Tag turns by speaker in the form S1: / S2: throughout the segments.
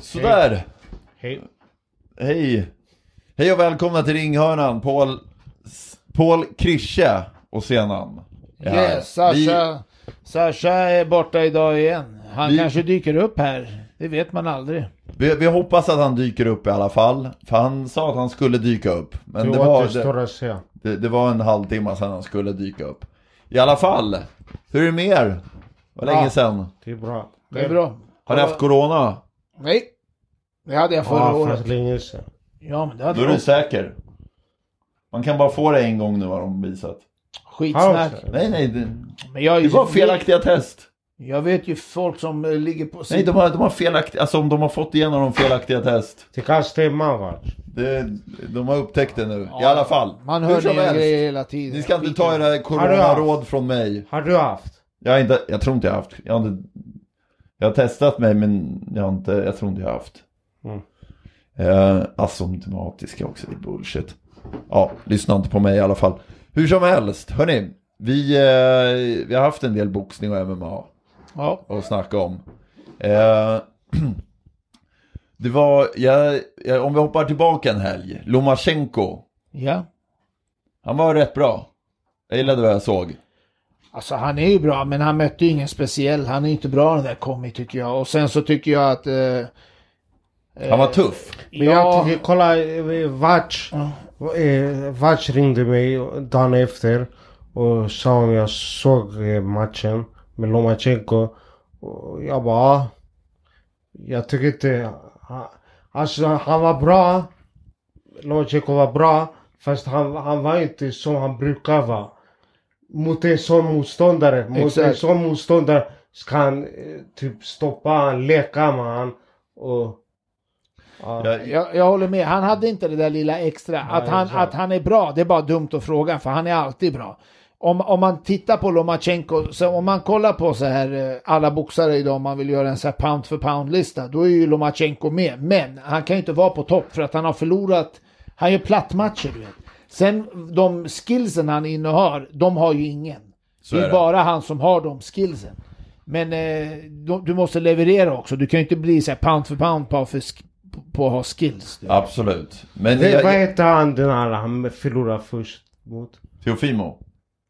S1: Sådär!
S2: Hej.
S1: Hej! Hej och välkomna till Ringhörnan, Paul, Paul Krische och Senan. är här.
S2: Yes, alltså. Sasha, Sasha är borta idag igen. Han
S1: Vi-
S2: kanske dyker upp här. Det vet man aldrig.
S1: Vi, vi, vi hoppas att han dyker upp i alla fall, för han sa att han skulle dyka upp. Men det
S3: Det
S1: var,
S3: återstår
S1: det,
S3: att se.
S1: det, det var en halvtimme sedan han skulle dyka upp. I alla fall, hur är det med er? Vad
S2: Ja.
S1: länge sedan?
S3: Det är bra.
S2: Det är bra.
S1: Har ni haft corona?
S2: Nej. Det hade jag förra
S3: Ja,
S2: året.
S3: fast länge sedan.
S2: Ja, men
S1: Då
S2: det
S1: är
S2: hade
S1: du
S2: jag.
S1: säker. Man kan bara få det en gång nu har de visat.
S2: Skitsnack.
S3: Har
S1: Nej, nej, det,
S2: Men jag, är
S1: det
S2: ju-
S1: var felaktiga test.
S2: jag vet ju folk som eh, ligger på
S1: Nej,
S2: sidan.
S1: de har, de har felaktiga, alltså om de har fått igenom de felaktiga test.
S3: Det kan stämma va?
S1: Det, de har upptäckt det nu, i
S2: Ja,
S1: alla fall.
S2: Man
S1: Hur
S2: hör
S1: som
S2: nya
S1: helst.
S2: grejer hela tiden.
S1: Ni ska inte
S2: Skiten.
S1: ta era coronaråd från mig.
S3: Har du haft?
S1: Jag, har inte, jag tror inte jag har haft. Jag har, inte, jag har testat mig men jag, har inte, jag tror inte jag har haft.
S3: Mm.
S1: Eh, asymptomatiska också, det är bullshit. Ja, lyssna inte på mig i alla fall. Hur som helst, hörni. Vi, eh, vi har haft en del boxning och MMA
S2: Ja.
S1: att snacka om. Eh, det var, jag, jag, om vi hoppar tillbaka en helg, Lomachenko.
S2: ja.
S1: Han var rätt bra. Jag gillade vad jag såg.
S2: Alltså han är ju bra, men han mötte ju ingen speciell. Han är inte bra den där Komi tycker jag. Och sen så tycker jag att... Eh,
S1: Han var tuff.
S3: Men jag tycker, kolla, eh, Vatch. eh, Vatch ringde mig dagen efter och sa om jag såg eh, matchen med Lomachenko. Och jag bara, "Ja." jag tycker inte, ha- alltså han var bra. Lomachenko var bra. Fast han, han var inte som han brukar vara. Mot en sån motståndare. Mot en
S2: Exakt.
S3: sån motståndare ska han eh, typ stoppa han, leka med han. Och, ja.
S1: Jag,
S2: Jag, jag håller med, han hade inte det där lilla extra.
S3: Nej,
S2: att, han,
S3: exakt.
S2: att han är bra, det är bara dumt att fråga, för han är alltid bra. Om, om man tittar på Lomachenko, så om man kollar på så här eh, alla boxare idag, om man vill göra en så här pound för pound-lista, då är ju Lomachenko med. Men han kan ju inte vara på topp för att han har förlorat, han gör plattmatcher du vet. Sen de skillsen han innehar, de har ju ingen.
S1: Så
S2: det
S1: är
S2: är
S1: det.
S2: bara han som har de skillsen. Men eh, du, du måste leverera också. Du kan ju inte bli så här pound för pound på, för sk- på att ha skills. Du.
S1: absolut. Men
S3: Det, vad
S1: jag,
S3: hette han den här han förlorade först mot?
S1: Teofimo.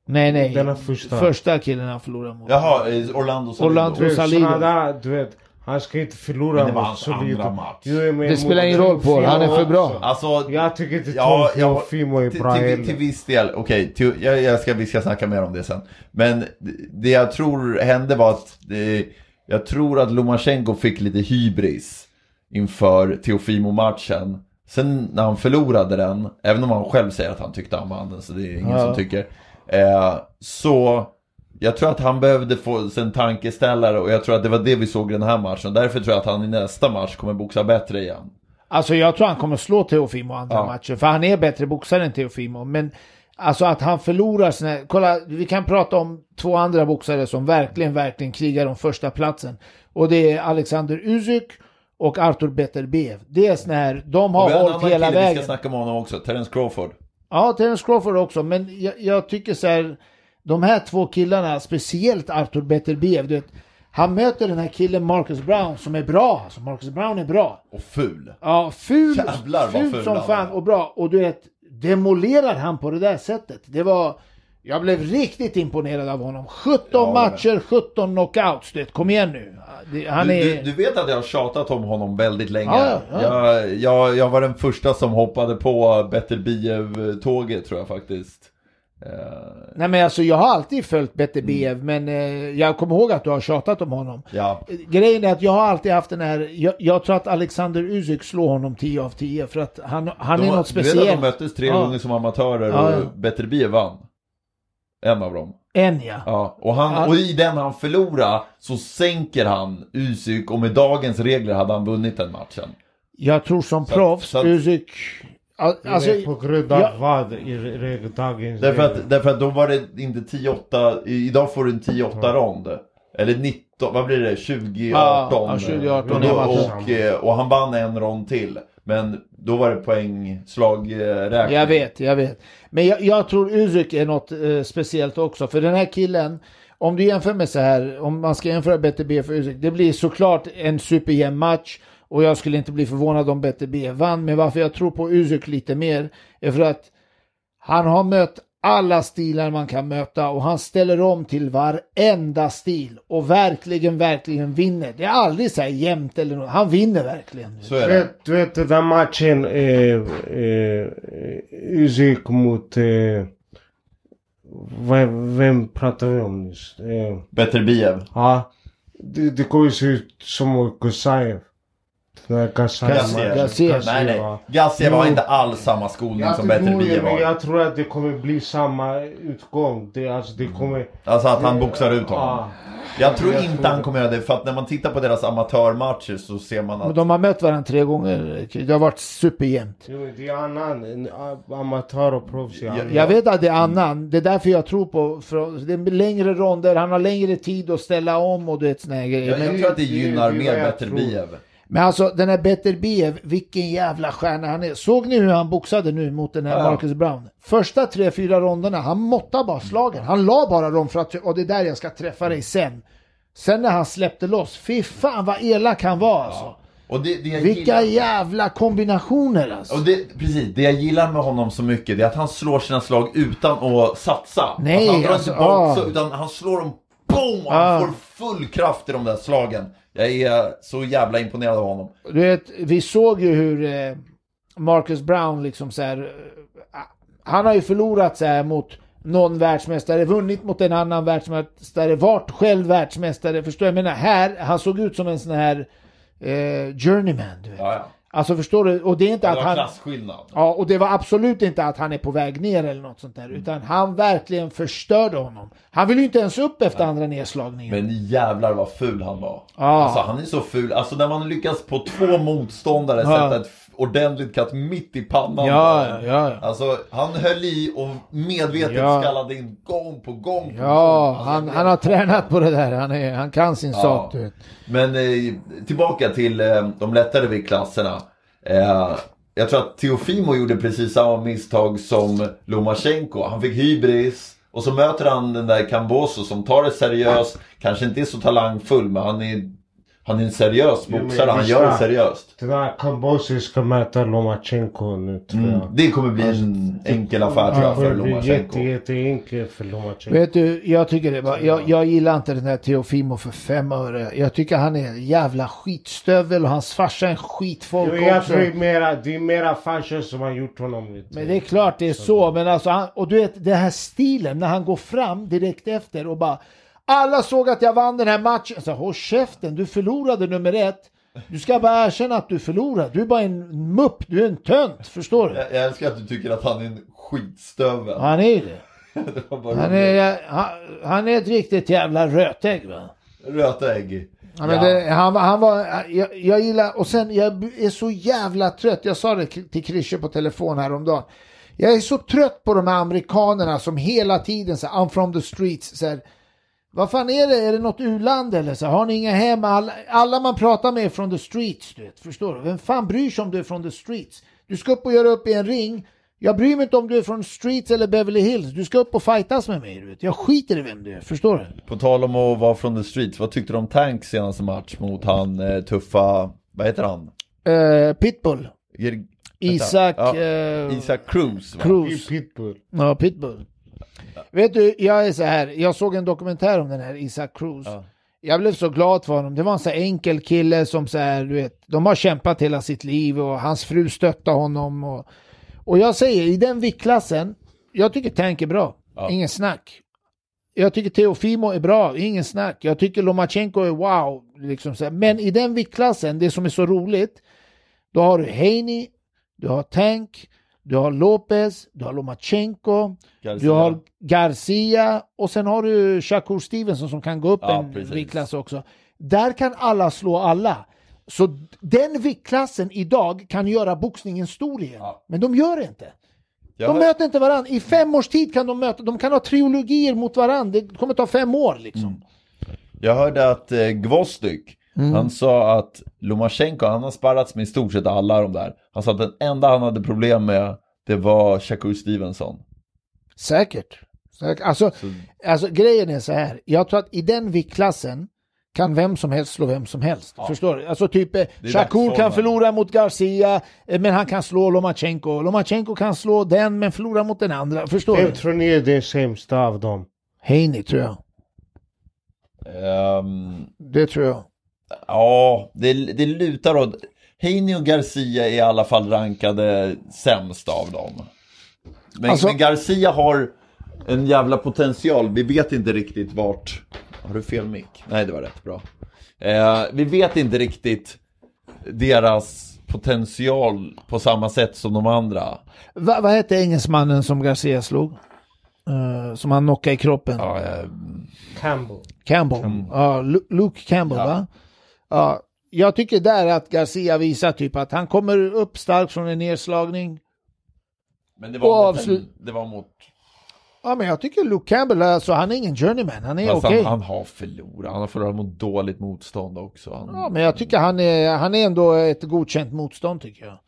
S2: Nej, nej.
S3: Denna första.
S2: Första killen han förlorade mot.
S1: Jaha, eh, Orlando Salido.
S2: Orlando-
S3: Du,
S2: Salido.
S3: såna där, du vet, han ska inte förlora
S1: Men det var
S3: mot
S1: hans
S3: Salido.
S1: andra match.
S3: Jo, men
S2: Det
S3: mot
S2: spelar ingen roll, Paul. Han är för bra.
S1: Alltså,
S3: Jag tycker inte
S1: ja,
S3: Tom
S1: jag,
S3: Teofimo är
S1: till,
S3: bra
S1: till, till
S3: heller.
S1: viss del, okej, till- jag, jag ska, vi ska snacka mer om det sen. Men det- det jag tror hände var att eh, jag tror att Lomachenko fick lite hybris inför Teofimo-matchen. Sen när han förlorade den, även om han själv säger att han tyckte han vann den, så det är ingen
S2: Ja.
S1: som tycker. Eh, så jag tror att han behövde få sin tankeställare och jag tror att det var det vi såg i den här matchen. Därför tror jag att han i nästa match kommer boxa bättre igen.
S2: Alltså jag tror han kommer slå Teofimo andra
S1: Ja.
S2: matcher. För han är bättre boxare än Teofimo. Men alltså att han förlorar sina... Kolla, vi kan prata om två andra boxare som verkligen, verkligen krigar om första platsen. Och det är Alexander Usyk och Artur Beterbiev. Det är sån här... De
S1: Och
S2: har
S1: vi har en
S2: hållit
S1: annan
S2: hela
S1: kille vi
S2: vägen.
S1: ska snacka om honom också, Terence Crawford.
S2: Ja, Terence Crawford också, men jag, jag tycker så här, de här två killarna, speciellt Arthur Beterbiev, du vet, han möter den här killen Marcus Brown som är bra, alltså Marcus Brown är bra.
S1: Och ful.
S2: Ja, ful,
S1: Jävlar, vad
S2: ful
S1: ful
S2: som
S1: han
S2: fan
S1: är.
S2: och bra. Och du vet, demolerar han på det där sättet. Det var... Jag blev riktigt imponerad av honom. 17
S1: Ja, men-
S2: matcher, 17 knockouts. Du vet, kom igen nu. Det- Han
S1: du,
S2: är...
S1: du, du vet att jag har tjatat om honom väldigt länge.
S2: Ja, ja.
S1: Jag, jag, jag var den första som hoppade på Beterbiev-tåget tror jag faktiskt. Eh,
S2: Nej men alltså jag har alltid följt
S1: Mm.
S2: Beterbiev, men eh, jag kommer ihåg att du har tjatat om honom.
S1: ja.
S2: Grejen är att jag har alltid haft den här, jag, jag tror att Alexander Usyk slår honom 10 av 10 för att han, han är
S1: de, Du
S2: något
S1: vet att
S2: speciellt.
S1: de möttes tre
S2: Ja.
S1: gånger som amatörer
S2: Ja, ja.
S1: och Beterbiev vann. En av dem.
S2: En ja.
S1: Ja. Och, han,
S2: Ja.
S1: och i den han förlorar så sänker han Usyk och med dagens regler hade han vunnit den matchen.
S2: Jag tror som
S1: Så att-
S2: proffs,
S1: så att-
S2: Usyk... al- Alltså,
S3: på grund av
S2: jag-
S3: vad i re- dagens...
S1: Därför att, därför att då var det inte 10-8, i- idag får du en 10-8 rond. Eller 19, vad blir det? 20-18?
S2: Ja, ja, 20-18
S1: och, då,
S2: är
S3: matchen.
S1: och, eh, och han vann en rond till. Men då var det eh, poängslagräkning.
S2: Jag vet, jag vet. Men jag, jag tror Usyk är något eh, speciellt också. För den här killen, om du jämför med så här, om man ska jämföra BTB för Usyk, det blir såklart en superjämn match. Och jag skulle inte bli förvånad om Bette B vann. Men varför jag tror på Usyk lite mer är för att han har mött alla stilar man kan möta och han ställer om till varenda stil och verkligen, verkligen vinner. Det är aldrig så här jämnt eller något. Han vinner verkligen.
S1: Så är
S3: Du
S1: det.
S3: vet, du vet den där matchen, eh, eh, Usyk mot... Eh, vem, vem pratar vi om nyss? Eh,
S1: Bättre Biev.
S3: ja, det, det går ju se ut som mot Gusaev. Den där
S1: Gassiev.
S3: Gassiev.
S2: Gassiev.
S1: Nej, nej.
S3: ja.
S1: Gassiev har
S3: Jo.
S1: inte alls samma skolning
S3: Jag
S1: som Bättre
S3: tror, det,
S1: Biev
S3: men
S1: har.
S3: jag tror att det kommer bli samma utgång. Det, alltså, det kommer...
S1: Alltså att han boxar ut honom.
S3: Ja.
S1: Jag tror
S3: Jag
S1: inte
S3: tror-
S1: han kommer göra det, för att när man tittar på deras amatörmatcher så ser man
S2: Men
S1: att...
S2: de har mött varandra tre gånger. Det har varit superjämnt.
S3: Jo, men det är annan. En a- Amatör och proffs. Ja.
S2: Jag vet att det är
S1: Mm.
S2: annan. Det är därför jag tror på... För det är längre ronder, han har längre tid att ställa om och du vet såna här grejer.
S1: Jag,
S2: Men,
S1: jag tror att det
S3: det är ju
S1: gynnar
S3: vad
S1: mer
S3: jag
S1: Bättre
S3: tror.
S1: Biev.
S2: men alltså den här Beterbiev, vilken jävla stjärna han är. Såg ni hur han boxade nu mot den här
S1: Ja.
S2: Marcus Brown? Första tre, fyra ronderna, han måttade bara slagen. Han la bara dem för att... Och det är där jag ska träffa dig sen. Sen när han släppte loss, fy fan vad elak han var alltså.
S1: Och det, det jag
S2: Vilka
S1: gillar-
S2: jävla kombinationer alltså.
S1: Och det, precis, det jag gillar med honom så mycket det är att han slår sina slag utan att satsa.
S2: Nej,
S1: att han drar
S2: alltså,
S1: inte bort,
S2: ah.
S1: så, utan han slår dem boom! Och han
S2: Ah.
S1: får full kraft i de där slagen. Jag är så jävla imponerad av honom.
S2: Du vet, vi såg ju hur eh, Marcus Brown liksom så här, eh, Han har ju förlorat så här mot någon världsmästare, vunnit mot en annan världsmästare, varit själv världsmästare. Förstår jag? jag menar här, han såg ut som en sån här eh, journeyman. Du vet.
S1: Ja, ja.
S2: Alltså förstår du? Och det är inte
S1: Det
S2: att
S1: var
S2: han...
S1: klassskillnad.
S2: Ja, och det var absolut inte att han är på väg ner eller något sånt
S1: Mm.
S2: där. Utan han verkligen förstörde honom. Han vill ju inte ens upp efter andra nedslagningen.
S1: Men jävlar vad ful han var.
S2: Ah.
S1: Alltså han är så ful. Alltså när man lyckas på två motståndare sätta ett f- ordentligt katt mitt i pannan.
S2: Ah. Ja,
S1: på honom.
S2: ja, ja.
S1: Alltså han höll i och medvetet
S2: Ja.
S1: skallade in gång på gång. På gång.
S2: Ja,
S1: Alltså,
S2: han,
S1: jag-
S2: han har tränat på det där. Han, är, han kan sin sak, du vet.
S1: Men eh, tillbaka till eh, de lättare viktklasserna. Eh, jag tror att Teofimo gjorde precis samma misstag som Lomachenko. Han fick hybris och så möter han den där Camboso som tar det seriöst. Kanske inte är så talangfull men han är, han är en seriös
S3: Jo, men
S1: boxare. Han
S3: visst,
S1: gör det
S3: ja.
S1: seriöst.
S3: Den där Kambodja ska möta Lomachenko nu tror jag.
S1: Mm. Det kommer bli en enkel affär tror jag för
S3: Alltså, Det blir jätte,
S1: Lomachenko.
S3: jätteenkelt för Lomachenko.
S2: Vet du, jag tycker det bara, jag, jag gillar inte den här Teofimo för fem öre. Jag tycker han är en jävla skitstövel och hans farsa är en skitfolk
S3: Jo, jag
S2: också.
S3: tror det är mera, det är mera farsan som har gjort honom lite.
S2: Men det är klart det är så, men alltså han, och du vet den här stilen när han går fram direkt efter och bara Alla såg att jag vann den här matchen. Så, Håll käften, du förlorade nummer ett. Du ska bara erkänna att du förlorade. Du är bara en mupp, du är en tönt, förstår du?
S1: Jag, jag älskar att du tycker att han är en skitstövel.
S2: Han är ju det.
S1: det var bara
S2: Han är, han, han är ett riktigt jävla rötägg va.
S1: Röta ägg.
S2: Ja, men det, han, var- han var, jag, jag gillar, och sen jag är så jävla trött. Jag sa det till Christer på telefon häromdagen. Jag är så trött på de här amerikanerna som hela tiden så här, I'm from the streets. Så här, vad fan är det? Är det något u-land eller så? här, Har ni inga hem? Alla, alla man pratar med är från the streets, du vet. Förstår du? Vem fan bryr sig om du är från the streets? Du ska upp och göra upp i en ring. Jag bryr mig inte om du är från streets eller Beverly Hills. Du ska upp och fightas med mig, du vet. Jag skiter i vem du är, förstår du?
S1: På tal om att vara från the streets, vad tyckte du om Tanks senaste match mot han eh, tuffa, vad heter han?
S2: Eh, pitbull.
S1: Ger-
S2: Isak...
S1: Ja,
S2: eh,
S1: Isak Cruz va?
S3: Det är
S2: Cruz.
S3: pitbull.
S2: Ja, Pitbull. Vet du, jag är så här. Jag såg en dokumentär om den här Isak Cruz.
S1: Ja.
S2: Jag blev så glad för honom. Det var en så här enkel kille som så här, du vet, de har kämpat hela sitt liv och hans fru stöttar honom. Och, och jag säger, i den viktklassen, jag tycker Tank är bra.
S1: Ja.
S2: Ingen snack. Jag tycker Teofimo är bra, ingen snack. Jag tycker Lomachenko är wow. Liksom så här. Men i den viktklassen, det som är så roligt, då har du Haney, du har Tank, du har Lopez, du har Lomachenko,
S1: Garcia.
S2: du har Garcia och sen har du Shakur Stevenson som kan gå upp
S1: Ja,
S2: en
S1: precis.
S2: viktklass också. Där kan alla slå alla. Så den viktklassen idag kan göra boxningen stor igen.
S1: Ja.
S2: Men de gör det inte.
S1: Jag
S2: de
S1: hör-
S2: möter inte varandra. I fem års tid kan de möta. De kan ha trilogier mot varandra. Det kommer ta fem år liksom.
S1: Mm. Jag hörde att eh, Gvosdyk, han sa att Lomachenko, han har sparrats med i stort sett alla de där. Han sa att den enda han hade problem med, det var Shakur Stevenson.
S2: Säkert. Säkert. Alltså, alltså grejen är så här. Jag tror att i den viktklassen kan vem som helst slå vem som helst. Förstår du? Alltså typ eh, Shakur kan
S1: dagsformen.
S2: förlora mot Garcia, eh, men han kan slå Lomachenko. Lomachenko kan slå den, men förlora mot den andra. Förstår
S3: Vem
S2: du?
S3: tror ni är den sämsta av dem?
S2: Haney tror jag.
S1: Ehm,
S2: Det tror jag.
S1: ja, det, det lutar åt... Heini och Garcia är i alla fall rankade sämst av dem. Men,
S2: Alltså-
S1: men Garcia har en jävla potential. Vi vet inte riktigt vart... Har du fel mick? Nej, det var rätt bra. Eh, vi vet inte riktigt deras potential på samma sätt som de andra.
S2: Va, vad hette engelsmannen som Garcia slog? Eh, som han knockade i kroppen?
S1: Ja, eh,
S3: Campbell.
S2: Campbell. Ja, Lu- Luke Campbell va? Ja. Jag tycker där att Garcia visar typ att han kommer upp starkt från en nedslagning.
S1: men det
S2: Och
S1: var, mot,
S2: avslut-
S1: en, det var mot...
S2: Ja men jag tycker Luke Campbell, alltså han är ingen journeyman, han är
S1: Fast
S2: okej.
S1: han, han har förlorat. Han har förlorat mot dåligt motstånd också. Han,
S2: Ja men jag tycker han är, han är ändå ett godkänt motstånd tycker jag.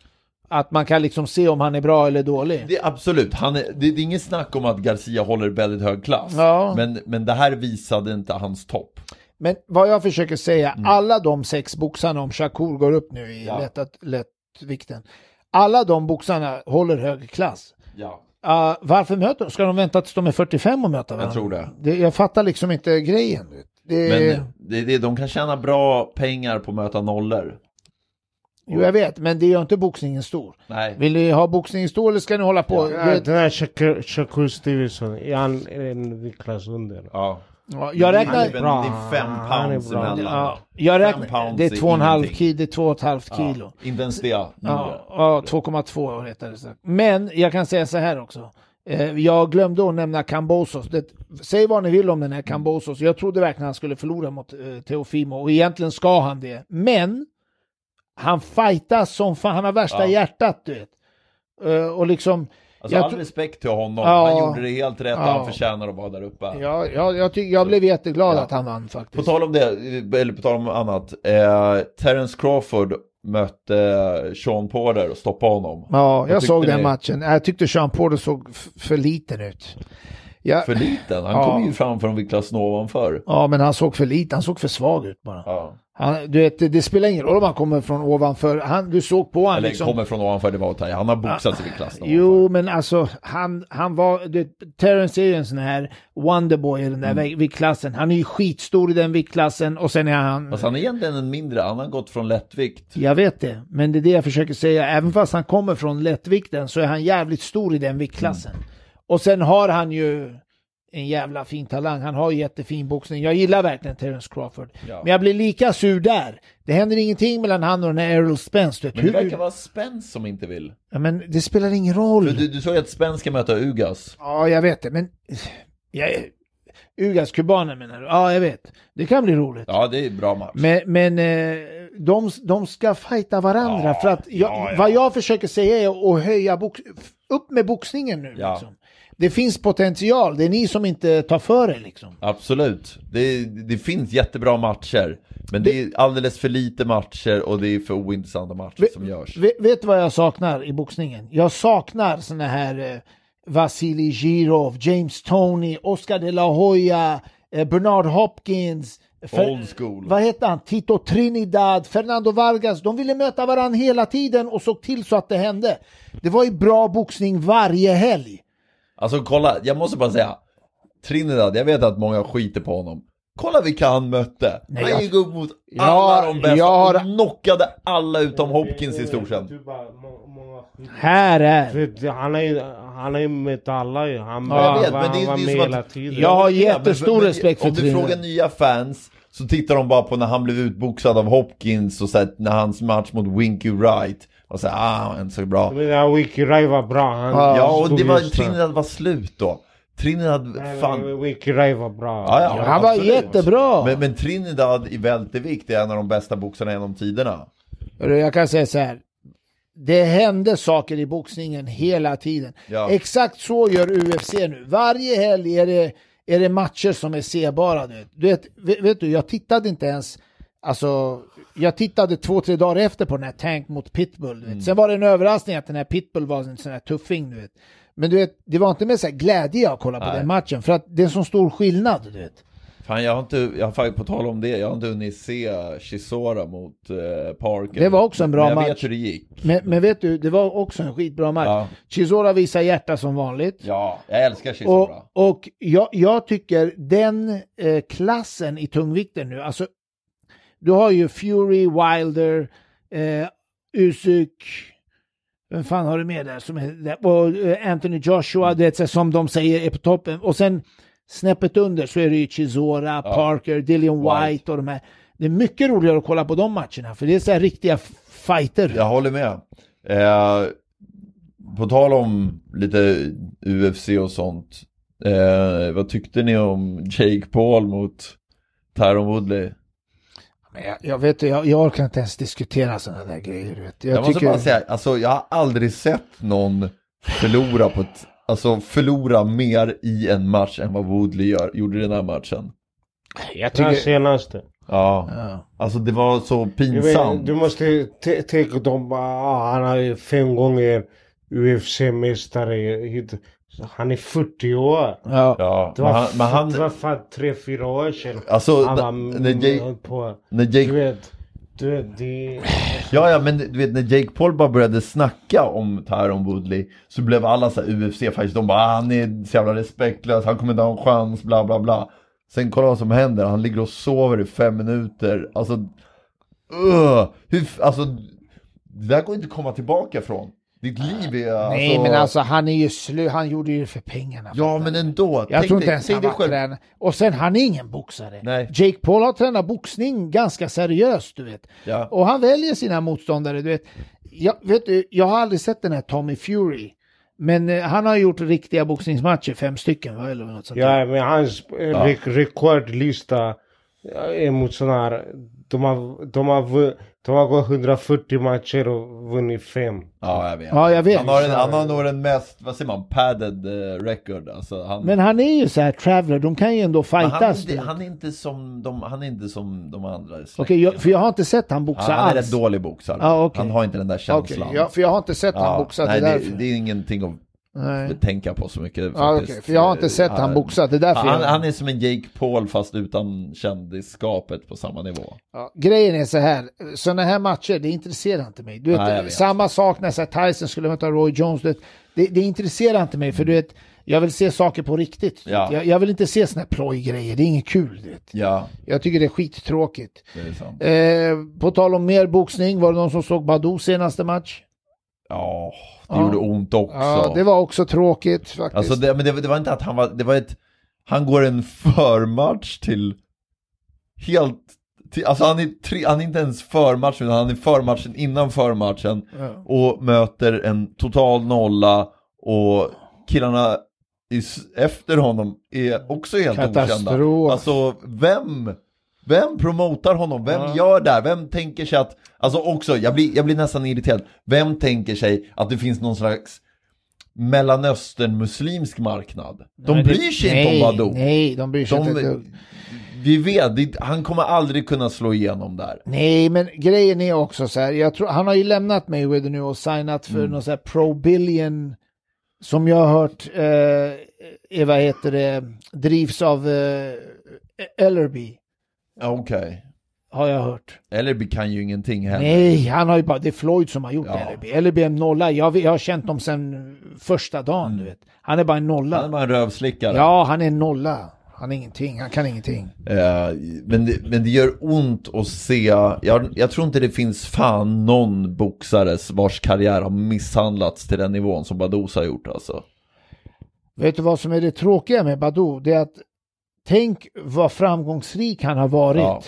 S2: Att man kan liksom se om han är bra eller dålig.
S1: Det, absolut, han är, det, det är inget snack om att Garcia håller väldigt hög klass.
S2: Ja.
S1: Men, men det här visade inte hans topp.
S2: Men vad jag försöker säga, alla de sex boxarna, om Shakur går upp nu i
S1: Mm. Ja.
S2: lättat, lättvikten, alla de boxarna håller hög klass.
S1: Ja.
S2: Ah, varför möter de? Ska de vänta tills de är 45 och möta varandra?
S1: tror det.
S2: Jag fattar liksom inte grejen. vet. Det,
S1: Men det, det, de kan tjäna bra pengar på att möta nollor.
S2: Jo, jag vet, men det gör inte boxningen stor.
S1: Nej.
S2: Vill ni ha boxningen stor eller ska ni hålla på?
S3: Ja,
S2: Jag,
S3: den här Shakur- Shakur Stevenson, är han en klass under?
S1: Ja.
S2: ja, jag
S1: Det
S2: räknar...
S1: är,
S3: Bra.
S1: bra. Det är fem
S3: Han är
S1: pounds
S3: bra.
S1: emellan.
S2: Ja, jag räknar
S1: pounds
S2: det är
S1: är
S2: två och en halv
S1: ingenting.
S2: kilo, det är två och ett halvt kilo.
S1: Ja. Inte ens det.
S2: Ja, ja 2,2 rättare sagt. Men jag kan säga så här också. Eh, Jag glömde att nämna Cambosos. Det, säg vad ni vill om den här Cambosos. Jag trodde verkligen han skulle förlora mot eh, Teofimo och egentligen ska han det. Men han fightas som fan. Han har värsta
S1: Ja.
S2: hjärtat du vet. Eh, Och liksom...
S1: Alltså,
S2: jag
S1: all
S2: tro-
S1: respekt till honom.
S2: Ja.
S1: Han gjorde det helt rätt.
S2: Ja.
S1: Han förtjänar att vara där uppe.
S2: Ja, ja, jag, tyck, jag blev jätteglad
S1: Ja.
S2: att han vann
S1: På
S2: faktiskt.
S1: tal om det, eller på tal om annat. Eh, Terence Crawford mötte Sean Porter och stoppade honom.
S2: Ja, jag
S1: tyckte
S2: såg den
S1: ni?
S2: matchen. Jag tyckte Sean Porter såg f- för liten ut. Jag,
S1: För liten. Han
S2: Ja.
S1: kom ju framför en viktklass ovanför.
S2: Ja, men han såg för liten. Han såg för svag ut bara.
S1: Ja.
S2: Han, du vet, det, det spelar ingen roll om han kommer från ovanför. Han, du såg på han
S1: Eller
S2: liksom.
S1: kommer från ovanför, det var att ta i. Han har boxats i viktklassen
S2: Jo, men alltså han, han var... Du, vet, Terrence är ju en sån här Wonderboy i den där mm. viktklassen. Han är ju skitstor i den viktklassen och sen är han...
S1: Fast han är egentligen en mindre, han har gått från lättvikt.
S2: Jag vet det, men det är det jag försöker säga. Även fast han kommer från lättvikten så är han jävligt stor i den viktklassen.
S1: Mm.
S2: Och sen har han ju en jävla fin talang. Han har ju jättefin boxning. Jag gillar verkligen Terence Crawford.
S1: Ja.
S2: Men jag blir lika sur där. Det händer ingenting mellan han och den här Errol Spence. Du vet.
S1: Men det
S2: Hur-
S1: verkar vara Spence som inte vill.
S2: Ja, men det spelar ingen
S1: För
S2: roll.
S1: du, du såg ju att Spence ska möta Ugas.
S2: Ja, jag vet det, men... Jag... Ugas-kubanen menar du? Ja, jag vet. Det kan bli roligt.
S1: Ja, det är en bra match.
S2: Men, men eh, de, de ska fighta varandra
S1: Ja,
S2: för att jag,
S1: ja, ja.
S2: vad jag försöker säga är att höja box, upp med boxningen nu.
S1: Ja.
S2: Liksom. Det finns potential, det är ni som inte tar för er liksom.
S1: Absolut. Det, det finns jättebra matcher. Men det är alldeles för lite matcher och det är för ointressanta matcher som görs.
S2: Ve- vet du vad jag saknar i boxningen? Jag saknar såna här eh, Vasili Girov, James Toney, Oscar de la Hoya, eh, Bernard Hopkins. Fer-
S1: Old school.
S2: Vad heter han? Tito Trinidad, Fernando Vargas. De ville möta varandra hela tiden och såg till så att det hände. Det var ju bra boxning varje helg.
S1: Alltså kolla, jag måste bara säga. Trinidad, jag vet att många skiter på honom. Kolla vilka han mötte.
S2: Nej, jag-
S1: han gick upp mot
S2: Ja,
S1: alla de bästa
S2: jag har-
S1: och knockade alla utom Hopkins i stort sett.
S2: Här är...
S3: Det- det- Han är ju- han är ju med alla ju. Han,
S2: Ja,
S1: Jag
S3: var-
S1: vet, men det,
S3: han var
S1: är- det
S3: med
S1: är som
S3: hela
S1: att...
S3: tiden.
S2: Jag har
S1: Ja, men-
S2: jättestor
S1: men-
S2: respekt för
S1: Om du
S2: Trinidad.
S1: frågar nya fans så tittar de bara på när han blev utboxad av Hopkins och så här, när hans match mot Winky Wright. Och så här, ah, han är inte så bra.
S3: Men den här Wiki Rai var bra. Han
S1: Ja, och
S3: stod
S1: det var,
S3: just där.
S1: Trinidad var slut då. Trinidad, fan.
S3: Wiki Rai var bra.
S1: Ja, ja.
S2: Han var
S1: absolut.
S2: jättebra!
S1: Men, men Trinidad i vältevikt är en av de bästa boxarna genom tiderna.
S2: Hörru, Jag kan säga så här. Det hände saker i boxningen hela tiden.
S1: Ja.
S2: Exakt så gör UFC nu. Varje helg är det, är det matcher som är sebara. Du vet. Du vet, vet- vet du, jag tittade inte ens... Alltså, jag tittade två, tre dagar efter på den här Tank mot Pitbull. Du vet.
S1: Mm.
S2: Sen var det en överraskning att den här Pitbull var en sån här tuffing. Du vet. Men du vet, det var inte med så här glädje jag kollade på
S1: Nej.
S2: den matchen. För att det är en sån stor skillnad. Du vet.
S1: Fan, jag har inte, jag har, faktiskt- på tal om det, jag har inte hunnit se Chisora mot eh, Parker.
S2: Det var också en bra
S1: Men jag
S2: match.
S1: vet hur det gick.
S2: Men, men vet du, det var också en skitbra match.
S1: Ja.
S2: Chisora visar hjärta som vanligt.
S1: Ja, jag älskar Chisora.
S2: Och, och jag, jag tycker den eh, klassen i tungvikten nu, alltså du har ju Fury, Wilder, eh, Usyk, vem fan har du med där? Som är, där? och eh, Anthony
S1: Mm.
S2: Joshua, det är så, här som de säger är på toppen. Och sen snäppet under så är det ju Chisora,
S1: Ja.
S2: Parker, Dillian White.
S1: White.
S2: och de här. Det är mycket roligare att kolla på de matcherna, för det är så här riktiga f- fighter.
S1: Jag håller med. Eh, på tal om lite UFC och sånt. Eh, vad tyckte ni om Jake Paul mot Tyron Woodley?
S2: Men jag, jag vet jag, jag orkar inte ens diskutera sådana där grejer. du Vet. Jag,
S1: Jag, måste
S2: tycker...
S1: bara säga, alltså jag har aldrig sett någon förlora på ett, alltså förlora mer i en match än vad Woodley gör, gjorde i den här matchen.
S2: jag
S3: Den
S2: tycker...
S3: senaste.
S1: Ja,
S2: Ja.
S1: alltså det var så
S3: Jag vet,
S1: pinsamt.
S3: du måste t- tänka de, ah, han är fem gånger UFC-mästare. hit. Han är 40 år.
S2: Ja.
S1: Ja,
S3: Det
S1: men
S3: var,
S1: han, men han
S3: det var fan tre, fyra år sedan.
S1: alltså
S3: Han var
S1: när- när Jake,
S3: höll på.
S1: när
S3: Du
S1: Jake
S3: vet, du vet, det...
S1: Ja, ja, men du vet när Jake Paul bara började snacka om Tyron Woodley så blev alla så här UFC-fighters, de bara ah, han är så jävla respektlös, han kommer inte ha en chans, bla bla bla. Sen kolla vad som händer, han ligger och sover i fem minuter. Alltså, uh, hur, f- alltså det där går inte att komma tillbaka från. Ditt liv är alltså...
S2: Nej men alltså han är ju slu, han gjorde ju det för pengarna.
S1: Ja, men ändå.
S2: jag
S1: tänk
S2: tror
S1: dig-
S2: inte ens
S1: tänk
S2: han
S1: dig
S2: var
S1: själv.
S2: tränare. Och sen han är ingen boxare.
S1: Nej.
S2: Jake Paul har tränat boxning ganska seriöst du vet.
S1: Ja.
S2: Och han väljer sina motståndare du vet. Jag, vet du, jag har aldrig sett den här Tommy Fury. Men eh, han har gjort riktiga boxningsmatcher, fem stycken va? Eller något sånt där.
S3: Ja, men hans eh,
S1: Ja.
S3: rek- rekordlista är mot sådana här... De har, de, har, vu- de har gått 140 matcher och vunnit fem.
S1: Ja, jag vet.
S2: Ja, jag vet.
S1: Han, har en, han har nog den mest, vad säger man, padded eh, record. Alltså, han...
S2: Men han är ju så här traveler, de kan ju ändå
S1: Men han, är
S2: fightas. du
S1: inte,
S2: vet.
S1: han, är inte som de, han är inte som de andra i släkten.
S2: Okej, jag, för jag har inte sett han boxa
S1: Han, han är
S2: alls.
S1: rätt dålig boxare.
S2: Ja, okej.
S1: Han har inte den där
S2: Okej,
S1: känslan.
S2: ja, för jag har inte sett han
S1: Ja,
S2: boxa,
S1: nej,
S2: det är
S1: det,
S2: därför.
S1: det är ingenting att
S2: Nej.
S1: tänka på så mycket
S2: Ja,
S1: faktiskt. eh,
S2: okej, för jag har inte sett han boxa, det är därför
S1: han,
S2: jag-
S1: han är som en Jake Paul fast utan kändisskapet på samma nivå.
S2: Ja, grejen är så här, sådana här matcher, det intresserar inte mig. Du vet,
S1: Nej, jag vet.
S2: samma sak när så här, Tyson skulle möta Roy Jones, du vet, det, det intresserar inte mig för du vet, jag vill se saker på riktigt.
S1: Ja.
S2: Jag, jag vill inte se sådana här plojgrejer, det är inget kul. Du vet.
S1: Ja,
S2: Jag tycker det är skittråkigt.
S1: det är sant.
S2: Eh, på tal om mer boxning, var det någon som såg Badou senaste match?
S1: Ja, det
S2: Ja.
S1: gjorde ont också.
S2: Ja, det var också tråkigt faktiskt.
S1: Alltså det, men det, det var inte att han var, det var ett, han går en förmatch till helt, till, alltså han är, tre, han är inte ens förmatchen, utan han är förmatchen innan förmatchen
S2: Ja.
S1: och möter en total nolla och killarna i, s- efter honom är också helt
S2: Katastrof.
S1: okända. Alltså vem, vem promotar honom? Vem
S2: Ja.
S1: gör det här? Vem tänker sig att, alltså också, jag blir, jag blir nästan irriterad, vem tänker sig att det finns någon slags Mellanöstern muslimsk marknad. De
S2: Nej, det-
S1: bryr sig inte om Badou.
S2: Nej, de bryr sig
S1: De,
S2: inte. ett dugg.
S1: vi vet, det, han kommer aldrig kunna slå igenom där.
S2: Nej, men grejen är också så här. Jag tror, han har ju lämnat Mayweather nu och signat för
S1: Mm.
S2: någon så här Pro Billion. Som jag har hört, eh, eh, vad heter det, drivs av eh, Ellerby.
S1: Ja, Okej.
S2: Har jag hört.
S1: Ellerby kan ju ingenting heller.
S2: Nej, han har ju bara, det är Floyd som har gjort
S1: Ja.
S2: Ellerby. Ellerby är en nolla. Jag, vet- jag har känt dem sedan första dagen, du vet. Han är bara en
S1: Mm. Han är
S2: nolla.
S1: bara en rövslickare.
S2: Ja, han är en nolla. Han är ingenting, han kan ingenting.
S1: Eh, men, det, men det gör ont att se, jag, jag tror inte det finns fan någon boxare vars karriär har misshandlats till den nivån som Badouz har gjort alltså.
S2: Vet du vad som är det tråkiga med Badou? Det är att tänk vad framgångsrik han har varit
S1: Ja.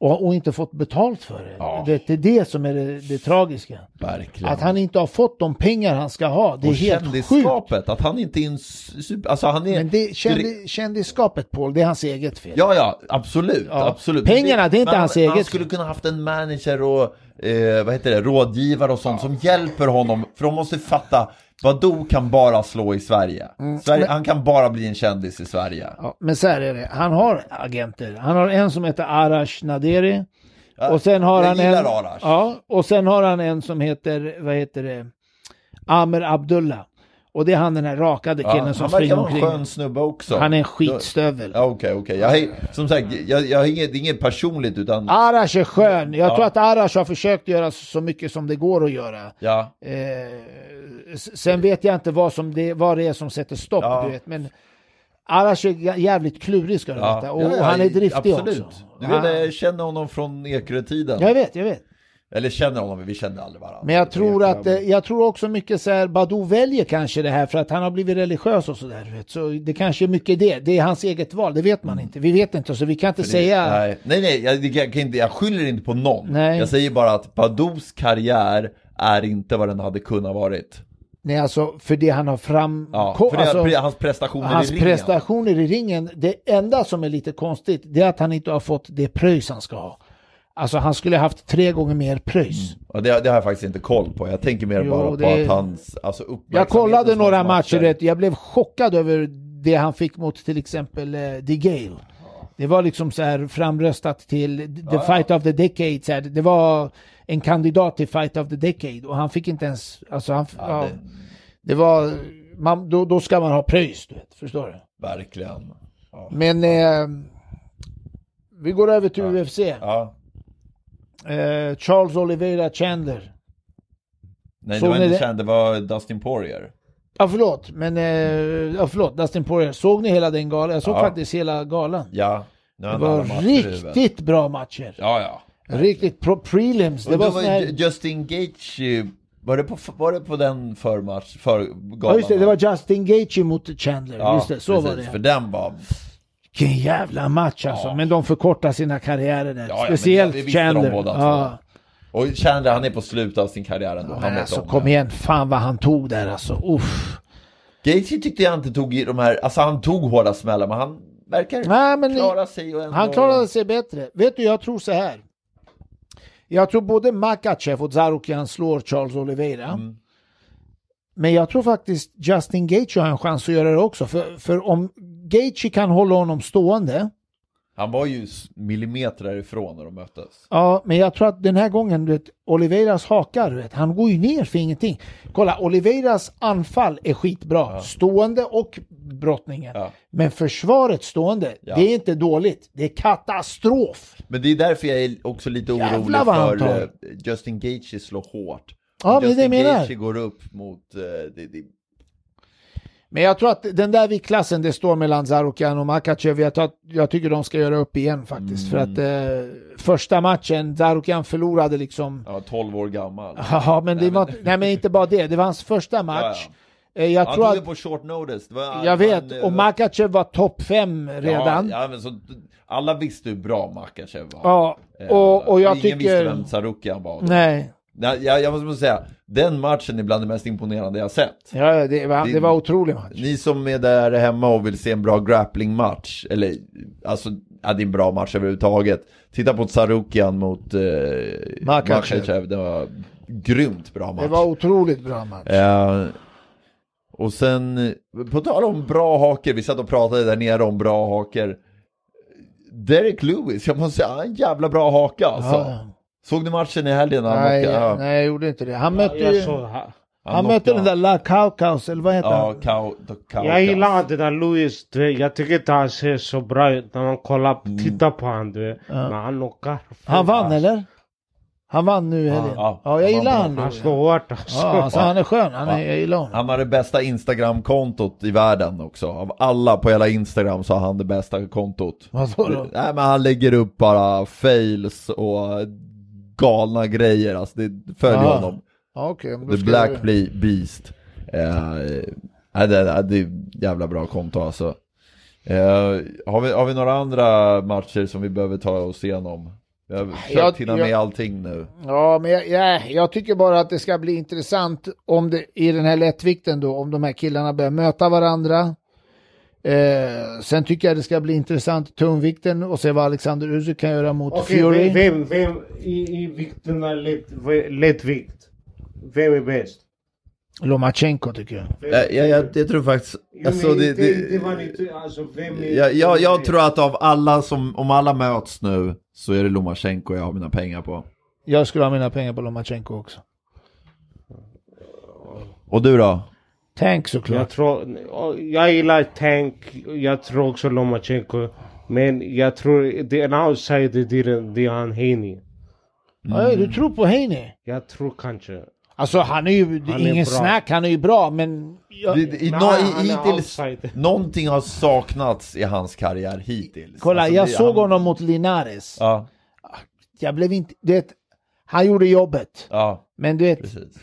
S2: och, och inte fått betalt för det.
S1: Ja.
S2: Det, det är det som är det, det tragiska.
S1: Verkligen.
S2: Att han inte har fått de pengar han ska ha. Det är
S1: och
S2: helt sjukt.
S1: kändisskapet, att han inte är en su- super, alltså han är...
S2: Men det, kändi, kändisskapet Paul, det är hans eget fel.
S1: Ja, ja, absolut.
S2: Ja.
S1: absolut.
S2: Pengarna, det är inte
S1: men
S2: hans
S1: han, Han
S2: eget.
S1: skulle kunna haft en manager och eh, vad heter det, rådgivare och sånt som hjälper honom. För de måste fatta, Badou kan bara slå i Sverige.
S2: Mm.
S1: Sverige Han kan bara bli en kändis i Sverige.
S2: Ja, men så här är det, han har agenter. Han har en som heter Arash Naderi. Och sen har
S1: jag
S2: han
S1: gillar
S2: en,
S1: Arash.
S2: Ja, och sen har han en som heter, vad heter det, Amer Abdullah. Och det är han den här rakade
S1: Ja,
S2: killen
S1: han
S2: som
S1: verkar
S2: springer
S1: vara en
S2: omkring.
S1: skön snubbe också.
S2: Han är en skitstövel.
S1: Ja, Okej, okej. Jag har- Som sagt, jag, jag har inget, det är inget personligt utan...
S2: Arash är skön. Jag
S1: Ja.
S2: tror att Arash har försökt göra så mycket som det går att göra.
S1: Ja,
S2: Eh, s- sen vet jag inte vad, som det, vad det är som sätter stopp,
S1: Ja.
S2: du vet. Men Arash är jä- jävligt klurig ska du
S1: ja.
S2: veta. Och,
S1: Ja, ja,
S2: och han är driftig
S1: absolut.
S2: också.
S1: Du
S2: Han-
S1: vet, jag känner honom från Ekerötiden.
S2: jag vet, jag vet.
S1: Eller känner honom, vi kände aldrig varandra.
S2: Men jag tror att, eh, jag tror också mycket så här, Badou väljer kanske det här för att han har blivit religiös och sådär. du vet. Så det kanske är mycket det. Det är hans eget val, det vet man inte. Vi vet inte, så vi kan inte
S1: Mm. För det-
S2: säga.
S1: Nej, nej, nej jag, det- jag, kan inte, jag skyller inte på någon.
S2: Nej.
S1: Jag säger bara att Badous karriär är inte vad den hade kunnat varit.
S2: Nej, alltså för det han har fram...
S1: Ja,
S2: ko-
S1: för det,
S2: alltså,
S1: pre- hans prestationer
S2: hans
S1: i ringen.
S2: prestationer i ringen, det enda som är lite konstigt, det är att han inte har fått det pröjs han ska ha. Alltså han skulle haft tre gånger mer pröjs.
S1: Ja, det, det har jag faktiskt inte koll på. Jag tänker mer
S2: Jo,
S1: bara på
S2: det-
S1: att hans alltså,
S2: Jag
S1: uppmärksamhet
S2: kollade
S1: hos
S2: några
S1: hans
S2: matcher, vet, jag blev chockad över det han fick mot till exempel eh, The Gale. Det var liksom så här framröstat till The Fight of the Decade. Så här. Det var en kandidat till Fight of the Decade och han fick inte ens... Alltså han, ja,
S1: Ja,
S2: det...
S1: det-
S2: var... Man, då, då ska man ha pröjs, du vet. Förstår du?
S1: Verkligen. Ja.
S2: Men eh, vi går över till UFC.
S1: Ja.
S2: Eh, Charles Oliveira Chandler.
S1: Nej,
S2: Såg
S1: det var
S2: ni
S1: inte
S2: det?
S1: känd, det var Dustin Poirier.
S2: Ja förlåt, men eh, ja, förlåt, Dustin Poirier. Såg ni hela den galan? Jag såg
S1: Ja.
S2: faktiskt hela galan.
S1: Ja. Nu har
S2: Det
S1: han alla
S2: var
S1: matcher i huvudet.
S2: riktigt bra matcher.
S1: Ja, ja.
S2: Riktigt pro- prelims. Det
S1: Och
S2: var
S1: då
S2: sån
S1: var
S2: här...
S1: ju Justin Gage, eh, var det på, var det på den förmatch, för galan?
S2: Ja just det, det var Justin Gaethje mot Chandler. just det, så var
S1: precis, För
S2: det.
S1: den var...
S2: Vilken jävla match alltså. Men de förkortar sina karriärer där.
S1: ja, men
S2: Speciellt
S1: det- det visste de
S2: Chandler.
S1: båda
S2: ja.
S1: Och Chandler, han är på slutet av sin karriär ändå. han
S2: Men
S1: vet
S2: alltså
S1: om
S2: kom
S1: det.
S2: igen, fan vad han tog där alltså. Uff.
S1: Gaethje tyckte jag inte tog i de här, alltså han tog hårda smällar, men han verkar
S2: Nej, men-
S1: klara sig och ändå...
S2: Han klarade sig bättre. Vet du, jag tror så här. Jag tror både Makachev och Zarukian slår Charles Oliveira.
S1: Mm.
S2: Men jag tror faktiskt Justin Gaethje har en chans att göra det också. För, för om Gaethje kan hålla honom stående.
S1: Han var ju s- millimeter ifrån när de möttes.
S2: Ja, men jag tror att den här gången, du vet, Oliveiras hakar, du vet, han går ju ner för ingenting. Kolla, Oliveiras anfall är skitbra. Stående och brottningen.
S1: Ja.
S2: Men försvaret stående,
S1: Ja.
S2: det är inte dåligt. Det är katastrof.
S1: Men det är därför jag är också lite
S2: Jävlar
S1: orolig
S2: vad han
S1: för
S2: tar.
S1: eh, Justin Gaethje slår hårt.
S2: Ja, men det
S1: Justin
S2: menar jag.
S1: Gaethje går upp mot... eh, Det, det,
S2: Men jag tror att den där viktklassen det står mellan Zarukan och Makachev, jag, tar, jag tycker de ska göra upp igen faktiskt. För
S1: Mm.
S2: att eh, första matchen, Zarukan förlorade liksom.
S1: han var 12 år gammal.
S2: Ja, men det
S1: Nej,
S2: var,
S1: men-
S2: nej men inte bara det, det var hans första match. Eh, Jag
S1: Han
S2: tror
S1: tog
S2: att,
S1: det på short notice. Det var,
S2: jag
S1: han,
S2: vet,
S1: eh,
S2: och Makachev var topp fem redan.
S1: Ja, ja, men så, alla visste hur bra Makachev var.
S2: Ja,
S1: Eh,
S2: och, och jag
S1: ingen visste
S2: tycker...
S1: vem Sarukian var. då.
S2: Nej,
S1: Nej, jag, jag måste bara säga, den matchen är bland det mest imponerande jag sett.
S2: ja, det, var, det var otroligt match.
S1: Ni som är där hemma och vill se en bra grapplingmatch, eller alltså, ja, det är en bra match överhuvudtaget. Titta på Sarukian mot eh,
S2: Makachev.
S1: Makachev, det var grymt bra match.
S2: Det var otroligt bra match.
S1: Eh, och sen, på tal om bra haker, vi satt och pratade där nere om bra haker. Derek Lewis, jag måste säga, han har en jävla bra haka alltså.
S2: Ja.
S1: Såg du matchen i helgen? när Han,
S2: Nej,
S1: knockade- ja,
S2: nej, jag gjorde inte det. Han mötte
S3: Jag
S2: ju...
S3: såg, han-
S2: Han, mötte
S1: knockade-
S2: den där La Kaukaus, eller vad heter
S1: Ja,
S2: han?
S1: Kau, Kau,
S3: Jag gillar att den där Louis, du vet, jag tycker inte han ser så bra ut när man kollar,
S1: Mm.
S3: tittar på han du vet. Men han knockar.
S2: Han vann eller? Han vann nu i helgen.
S1: ja,
S2: Ja,
S1: han
S2: jag gillar
S1: vann.
S2: han.
S3: Han
S2: Louis.
S3: slår hårt alltså.
S2: Ja, alltså, han är skön. Han är, jag gillar honom.
S1: Han har det bästa Instagram-kontot i världen också. Av alla på hela Instagram så har han det bästa kontot.
S2: Vadå då?
S1: Nej men han lägger upp bara fails och galna grejer. Alltså det följer
S2: Ja.
S1: honom.
S2: Ja, okej. men Ah, då
S1: The
S2: ska
S1: Black
S2: jag-
S1: Ble- Beast. Eh, eh, det, det, det är jävla bra konto alltså. Eh, har, vi, har vi några andra matcher som vi behöver ta oss igenom? Jag har försökt hinna
S2: jag-
S1: med allting nu.
S2: Ja, men jag, jag, jag tycker bara att det ska bli intressant om det, i den här lättvikten då, om de här killarna börjar möta varandra. Eh, sen tycker jag det ska bli intressant i tungvikten och se vad Alexander Usyk kan göra mot
S3: Okej,
S2: Fury.
S3: vem, vem, vem i, i vikterna lätt, v- lättvikt? Vem är bäst?
S2: Lomachenko tycker jag.
S3: Vem,
S1: Eh, Jag, jag, jag, jag tror faktiskt...
S3: Jo,
S1: Alltså,
S3: men
S1: det,
S3: inte,
S1: det,
S3: inte vad ni ty- alltså vem är...
S1: jag, jag,
S3: vem
S1: jag
S3: är-
S1: tror att av alla som, om alla möts nu så är det Lomachenko jag har mina pengar på.
S2: Jag skulle ha mina pengar på Lomachenko också.
S1: Och du då?
S2: Tank såklart.
S3: Jag, tror, jag gillar Tank, jag tror också Lomachenko. Men jag tror det är en outsider, det är- det är han Haney.
S1: Mm.
S2: Oj, du tror på Haney?
S3: Jag tror kanske.
S2: Alltså han är ju, det är
S3: Han är
S2: ingen
S3: bra.
S2: snack, han är ju bra men... Jag,
S1: Det- I,
S3: Men
S1: no,
S3: han-
S1: i,
S3: han är
S1: hittills,
S3: outsider.
S1: någonting har saknats i hans karriär hittills.
S2: kolla,
S1: Alltså,
S2: jag
S1: det-
S2: såg
S1: han-
S2: honom mot Linares.
S1: Ja,
S2: Jag blev inte... Du vet, han gjorde jobbet.
S1: ja,
S2: Men du vet,
S1: precis.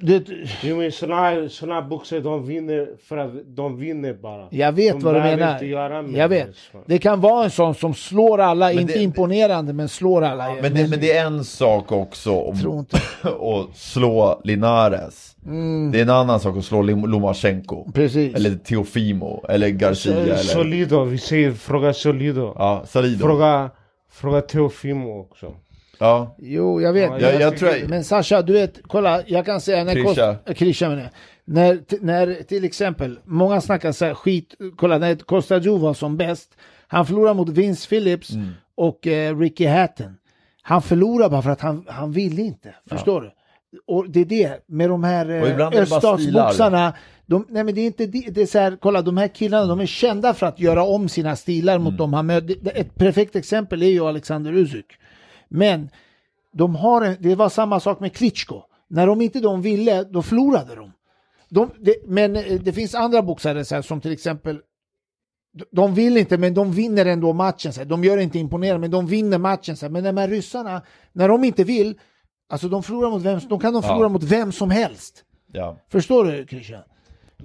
S2: du vet
S3: Jo men såna, såna boxare de vinner för att de vinner bara.
S2: jag vet
S3: de
S2: vad du
S3: behöver
S2: menar.
S3: inte göra med
S2: Jag vet.
S3: det, så.
S2: Det kan vara en sån som slår alla,
S1: Men
S2: inte
S1: det-
S2: imponerande men slår alla.
S1: Men det, men det är en sak också om,
S2: Jag tror inte.
S1: att slå Linares. Det är en annan sak att slå Lim- Lomachenko.
S2: Mm. Precis.
S1: Eller Teofimo, eller Garcia. Eller,
S3: Solido, vi säger fråga Solido.
S1: ja, Salido.
S3: Fråga, fråga Teofimo också.
S1: Ja,
S2: Jo, jag vet.
S3: Ja,
S1: jag, jag tror...
S2: Men Sasha, du vet, kolla, jag kan säga när...
S1: Krisha.
S2: Kost, Krisha menar jag. När, t- när till exempel, många snackar så här skit, kolla när Kostajov var som bäst, han förlorade mot Vince Phillips
S1: Mm.
S2: och eh, Ricky Hatton. Han förlorade bara för att han, han ville inte, förstår du? Och det är det, med de här
S1: Och
S2: eh,
S1: ibland är det bara
S2: öststatsboxarna, de, nej men det är inte det, det är så här, kolla de här killarna, de är kända för att göra om sina stilar
S1: Mm.
S2: mot de han möter. Ett perfekt exempel är ju Alexander Usyk. Men de har en, det var samma sak med Klitschko. När de inte de ville, då förlorade de. de det, men eh, det finns andra boxare så här, som till exempel de- de vill inte, men de vinner ändå matchen. Så här. De gör inte imponerande, men de vinner matchen. Så här. Men de här ryssarna, när de inte vill, alltså de förlorar mot vem, de kan de förlora
S1: Ja.
S2: mot vem som helst.
S1: ja.
S2: Förstår du Christian?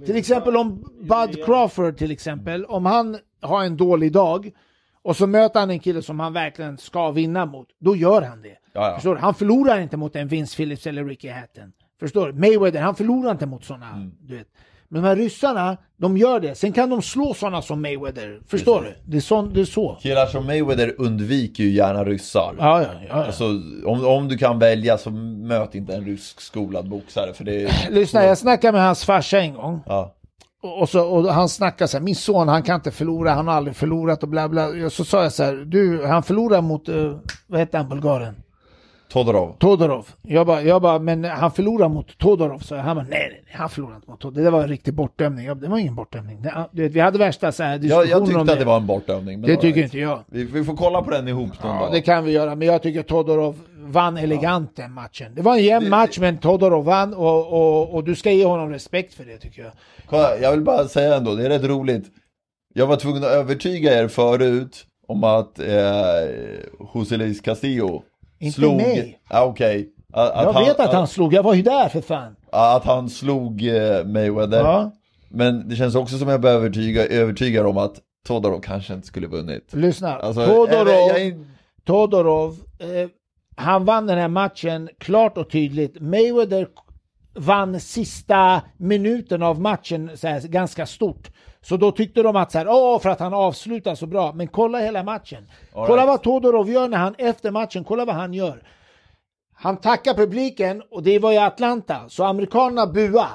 S2: Till exempel om Bud Crawford till exempel, om han har en dålig dag och så möter han en kille som han verkligen ska vinna mot, då gör han det.
S1: Ja, ja.
S2: Förstår du? Han förlorar inte mot en Vince Phillips eller Ricky Hatton. Förstår du? Mayweather, han förlorar inte mot sådana. Du vet. Men de här ryssarna, de gör det. Sen kan de slå sådana som Mayweather. Förstår du? Det är, sån, det är så.
S1: Killar som Mayweather undviker ju gärna ryssar.
S2: Ja, ja, ja. ja.
S1: Alltså, om, om du kan välja så möt inte en rysk skolad boxare för det är...
S2: Lyssna, jag snackade med hans farsa en gång.
S1: Ja,
S2: Och, och så, och han snackade så här, min son han kan inte förlora, han har aldrig förlorat och bla bla. Och så sa jag så här, du, han förlorar mot, eh, vad heter han, bulgaren?
S1: Todorov.
S2: Todorov. Jag bara, jag bara, men han förlorar mot Todorov. Så han bara, nej, nej, nej han förlorar inte mot Todorov. Det där var en riktig bortdömning. Jag bara, det var ingen bortdömning. Det, du vet, vi hade värsta så här
S1: Jag,
S2: diskussioner
S1: jag tyckte
S2: om
S1: att det var en bortövning. men
S2: Det
S1: all
S2: tycker
S1: right.
S2: inte jag.
S1: Vi, vi får kolla på den ihop någon
S2: Ja,
S1: dag.
S2: det kan vi göra, men jag tycker Todorov vann elegant den matchen. Det var en jämn match, men Todorov vann och, och, och du ska ge honom respekt för det tycker jag.
S1: Kolla, jag vill bara säga ändå, det är rätt roligt. Jag var tvungen att övertyga er förut om att eh, José Luis Castillo
S2: Inte
S1: slog...
S2: mig.
S1: Ja, okej. Att, att
S2: Jag vet att han
S1: Att,
S2: slog, jag var ju där för fan.
S1: att han slog eh, Mayweather.
S2: Ja.
S1: Men det känns också som jag börjar övertyga, övertyga om att Todorov kanske inte skulle vunnit.
S2: Lyssna,
S1: Alltså,
S2: Todorov,
S1: eller jag är-
S2: Todorov eh, han vann den här matchen klart och tydligt. Mayweather vann sista minuten av matchen så här, ganska stort. Så då tyckte de att så här, åh, för att han avslutar så bra. Men kolla hela matchen.
S1: All
S2: kolla
S1: right.
S2: vad Todorov gör när han efter matchen, kolla vad han gör. Han tackar publiken och det var i Atlanta, så amerikanerna bua.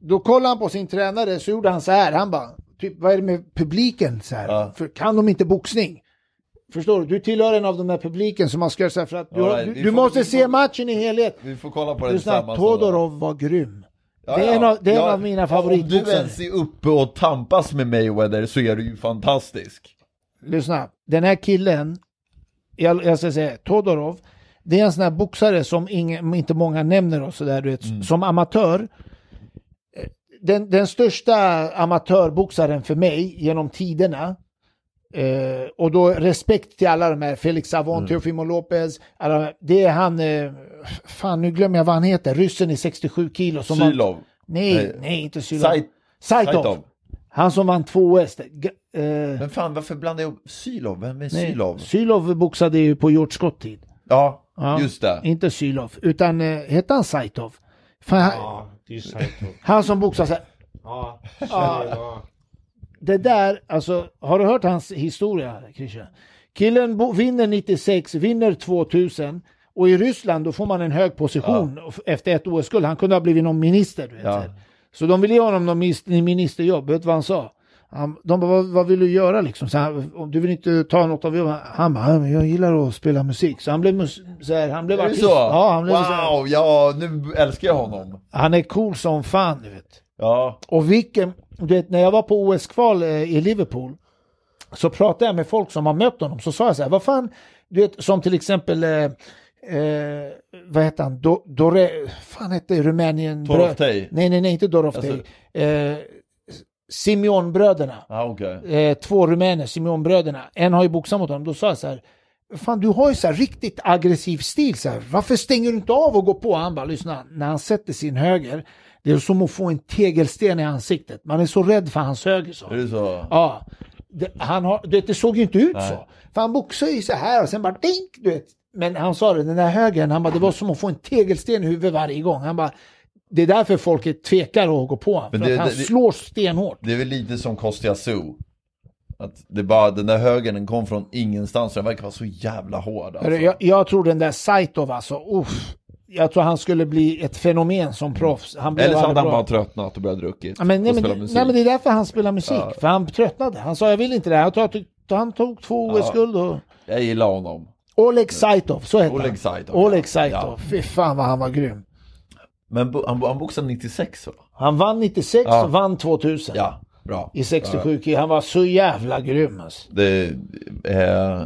S2: Då kollade han på sin tränare så gjorde han så här, han bara, typ vad är det med publiken så här?
S1: Ja.
S2: För, kan de inte boxning? Förstår du? Du tillhör en av de här publiken som man ska göra så här för att du,
S1: Alright,
S2: du,
S1: vi
S2: du
S1: får-
S2: måste
S1: vi
S2: se
S1: får-
S2: matchen i helhet.
S1: Vi får kolla på den
S2: Lyssna,
S1: tillsammans. någon dag.
S2: Todorov var grym.
S1: Ja,
S2: det är
S1: ja.
S2: en av, det är en
S1: Ja,
S2: av mina
S1: Om du
S2: favoritboxare.
S1: ens är uppe och tampas med Mayweather så är du ju fantastisk.
S2: Lyssna, den här killen, jag, jag ska säga Todorov, det är en sån här boxare som ingen, inte många nämner och sådär, du vet, som amatör. eh, Den, den största amatörboxaren för mig genom tiderna, eh, och då respekt till alla de här, Felix Savon, Teofimo Lopez, alla, de här, det är han, eh, fan nu glömmer jag vad han heter, ryssen i 67 kilo. Som vann-
S1: Sylov.
S2: nej,
S1: Nej.
S2: nej, inte Sylov.
S1: Saitov.
S2: Saitov. Han som vann två OS. G- eh,
S1: Men fan varför blandar jag upp Sylov? Vem är
S2: Nej,
S1: Sylov?
S2: Sylov boxade ju på George Scott tid.
S1: Ja,
S2: Ja.
S1: just det.
S2: Inte Sylov, utan eh, hette han Saitov? Fan, han,
S3: Ja, det är Saito.
S2: han som boxade så här.
S3: Ja, känner jag.
S2: Det där, alltså, har du hört hans historia, Christian? Killen bo- vinner 96, vinner 2000 och i Ryssland då får man en hög position f- efter ett OS-guld. Han kunde ha blivit någon minister, du vet.
S1: Ja.
S2: så här. Så de ville ge honom någon mis- ministerjobb, vet du vad han sa? Han, de bara, vad, vad vill du göra liksom? Så han, om du vill inte ta något av jobben? Han bara, "Ja, men jag gillar att spela musik. Så han blev, mus- så här, han blev
S1: Är det
S2: artist.
S1: så?
S2: Ja, han blev så här,
S1: wow, ja nu älskar jag honom.
S2: han är cool som fan, du vet.
S1: Ja,
S2: Och vilken, du vet när jag var på OS-kval eh, i Liverpool så pratade jag med folk som har mött honom så sa jag så här, vad fan, du vet som till exempel eh, Eh, vad heter han? Do, Dore, fan hette Rumänien?
S1: Toroftey.
S2: Nej, nej, nej, inte Doroftey. Eh, Simeonbröderna.
S1: Ja, okej.
S2: eh, två rumäner, Simeonbröderna. En har ju boxat mot honom. Då sa jag så här. Fan du har ju så här riktigt aggressiv stil. Så här. Varför stänger du inte av och går på? Han bara lyssna. När han sätter sin höger. Det är som att få en tegelsten i ansiktet. Man är så rädd för hans höger. Så.
S1: Är det så?
S2: Ja. Det, han har, du vet, det såg ju inte ut
S1: Nej.
S2: så. För han boxade ju så här och sen bara dink, du vet. Men han sa det, den där högern, han bara, det var som att få en tegelsten i huvudet varje gång. Han bara, det är därför folket tvekar att gå på honom. För
S1: Men det-
S2: att han
S1: det- det-
S2: slår stenhårt.
S1: Det är väl lite som Kostia Zoo. Att det är bara, den där högen den kom från ingenstans, den verkar vara så jävla hård. Alltså.
S2: Hörru, Jag, jag tror den där Saitov alltså, uff, jag tror han skulle bli ett fenomen som proffs. Han blev
S1: Eller så hade han
S2: aldrig bra.
S1: bara tröttnat och börjat druckit.
S2: Ja, men, nej,
S1: och
S2: men,
S1: spela
S2: det-
S1: musik.
S2: nej men det är därför han spelar musik,
S1: Ja.
S2: för han tröttnade. Han sa jag vill inte det här. Han tog, han tog två
S1: Ja.
S2: OS-guld och...
S1: Jag gillar honom.
S2: Oleg Saitov, så hette
S1: Oleg
S2: han.
S1: Saitov,
S2: Oleg
S1: ja.
S2: Saitov,
S1: Ja.
S2: fy fan vad han var grym.
S1: Men bo- han, han boxade 96 va?
S2: Han vann 96
S1: Ja.
S2: och vann 2000.
S1: Ja, bra.
S2: I 67 kilo. Han var så jävla grym alltså.
S1: Det, eh,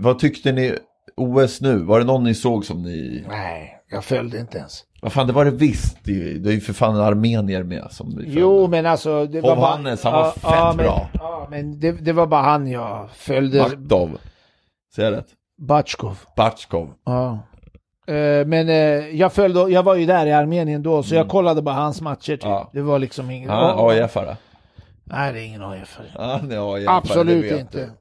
S1: vad tyckte ni OS nu? Var det någon ni såg som ni...
S2: Nej, jag följde inte ens.
S1: Vad fan, det var det visst. Det, är ju- det är ju för fan en armenier med som ni
S2: Jo, men alltså... Det var bara-
S1: Hovhannes, han var
S2: Ja,
S1: fett
S2: ja, men,
S1: bra.
S2: Ja, men det, det var bara han jag följde.
S1: följde. Baktov. Säger jag rätt?
S2: Batjkov.
S1: Batjkov.
S2: Ja. Eh, Men eh, jag, följde, jag var ju där i Armenien då, så jag kollade bara hans matcher. Typ.
S1: Ja.
S2: Det var liksom ingen...
S1: Han
S2: Mm. Ja.
S1: är AIF-are.
S2: Nej, det är ingen AIF.
S1: Han är AIF-are.
S2: Absolut
S1: det vet
S2: inte.
S1: du.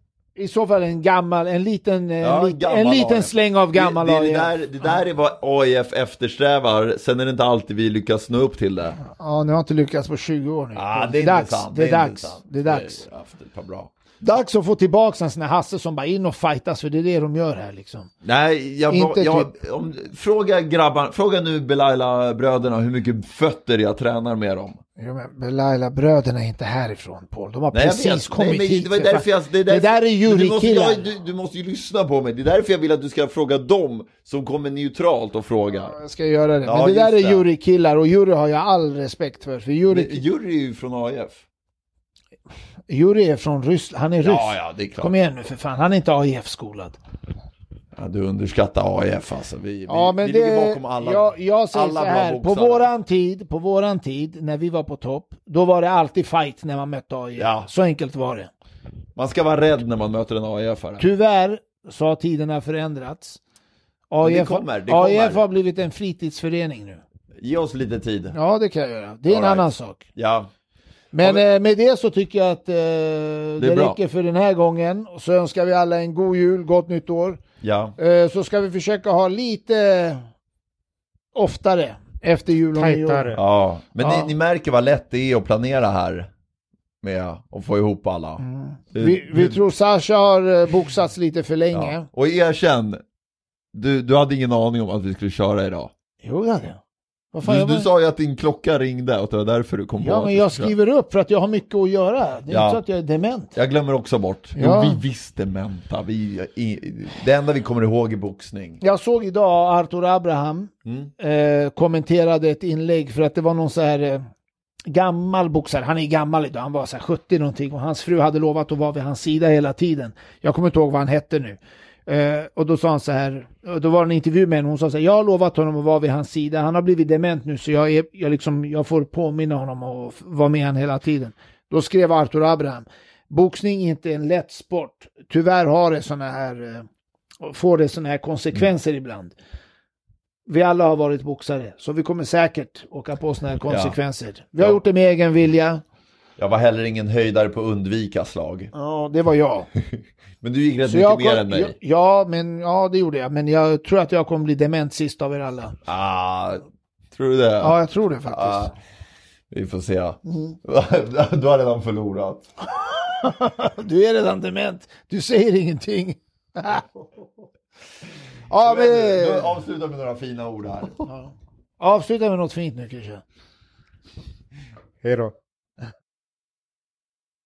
S2: I så fall en gammal, en liten, eh,
S1: Ja,
S2: lit,
S1: gammal
S2: en liten
S1: AIF.
S2: släng av gammal
S1: det, det,
S2: AIF.
S1: det, där, det där är vad AIF eftersträvar, sen är det inte alltid vi lyckas nå upp till det.
S2: Ja, ni har inte lyckats på 20 år nu.
S1: Ah,
S2: det, är dags.
S1: intressant,
S2: det är dags.
S1: intressant.
S2: Det är dags.
S1: Vi har haft ett par bra.
S2: Dags att få tillbaka en sån här Hasse som bara in och fightas för det är det de gör här liksom.
S1: Nej, jag,
S2: Inte typ-
S1: jag, om, fråga grabbar, fråga nu Belaila-bröderna hur mycket fötter jag tränar med dem.
S2: Jo, men Belaila, bröderna är inte härifrån Paul. De har
S1: Nej, jag
S2: precis
S1: vet.
S2: kommit
S1: Nej, men
S2: hit.
S1: Det, var
S2: för fan.
S1: därför jag, det, är
S2: det
S1: därför,
S2: där är
S1: Men du, måste,
S2: jurykillar.
S1: jag, du, du måste ju lyssna på mig. Det är därför jag vill att du ska fråga dem som kommer neutralt och frågar.
S2: Jag ska göra det.
S1: Ja,
S2: Men det där
S1: just
S2: är
S1: det.
S2: jurykillar och jury har jag all respekt för. För
S1: Men
S2: jury,
S1: Jury är ju från AIF.
S2: jury är från Ryssland. Han är ryss.
S1: Ja, ja, det är klart.
S2: Kom igen nu för fan, han är inte AIF-skolad.
S1: Ja, du underskattar AIF alltså. Vi,
S2: Ja,
S1: vi,
S2: men
S1: vi
S2: det,
S1: ligger bakom alla.
S2: jag, jag säger
S1: alla
S2: så
S1: bra
S2: här, på
S1: boxare.
S2: våran, tid, på våran tid, när vi var på topp, då var det alltid fight när man mötte AIF.
S1: Ja.
S2: Så enkelt var det.
S1: Man ska vara rädd när man möter en AIF-are.
S2: Tyvärr så har tiderna förändrats. AIF, har-
S1: kommer, det
S2: AIF
S1: kommer.
S2: har blivit en fritidsförening nu.
S1: Ge oss lite tid.
S2: Ja, det kan jag göra. Det är en
S1: All right.
S2: annan sak.
S1: Ja,
S2: Men
S1: Ja,
S2: eh, med det så tycker jag att eh, det,
S1: bra.
S2: räcker för den här gången. Och så önskar vi alla en god jul, gott nytt år.
S1: ja.
S2: Eh, så ska vi försöka ha lite oftare efter jul och nyår.
S3: Tajtare.
S1: ja. Men
S2: Ja.
S1: Ni, ni märker vad lätt det är att planera här. Med att få ihop alla. Eh, Det-
S2: Mm. Vi, vi
S1: det-
S2: tror Sasha har eh, boxats lite för länge.
S1: ja. Och erkänn, du, du hade ingen aning om att vi skulle köra idag.
S2: Jo, det hade jag. Vad fan,
S1: Du,
S2: jag var...
S1: du sa ju att din klocka ringde och att det var därför du kom på
S2: Ja,
S1: att
S2: men
S1: vi
S2: jag
S1: skulle köra.
S2: skriver upp för att jag har mycket att göra. Det är
S1: Ja.
S2: inte så att jag är dement.
S1: Jag glömmer också bort.
S2: Ja.
S1: Jo, vi visste dementa. Vi, i, det enda vi kommer ihåg är boxning.
S2: Jag såg idag Arthur Abraham
S1: Mm.
S2: eh, kommenterade ett inlägg för att det var någon så här eh, gammal boxare, han är gammal idag, han var så här 70 någonting och hans fru hade lovat att vara vid hans sida hela tiden. Jag kommer inte ihåg vad han hette nu. Eh, och då sa han så här, och då var det en intervju med henne, hon sa så här, jag har lovat honom att vara vid hans sida, han har blivit dement nu så jag, är, jag, liksom, jag får påminna honom och f- vara med honom hela tiden. Då skrev Arthur Abraham, boxning är inte en lätt sport, tyvärr har det såna här, eh, får det såna här konsekvenser ibland. Vi alla har varit boxare, så vi kommer säkert åka på såna här konsekvenser. Vi har
S1: Ja.
S2: gjort det med egen vilja.
S1: Jag var heller ingen höjdare på undvika slag.
S2: Ja, det var jag.
S1: Men du gick rätt
S2: Så
S1: mycket
S2: jag
S1: mer
S2: kom-
S1: än mig.
S2: ja, ja, men ja, det gjorde jag. Men jag tror att jag kommer bli dement sist av er alla.
S1: Ah, tror du det?
S2: Ja, jag tror det faktiskt.
S1: Ah, vi får se.
S2: Mm.
S1: du har redan förlorat.
S2: Du är redan dement. Du säger ingenting. ja, men...
S1: Du avslutar med några fina ord här.
S2: Avsluta med något fint nu kanske.
S3: Hej då.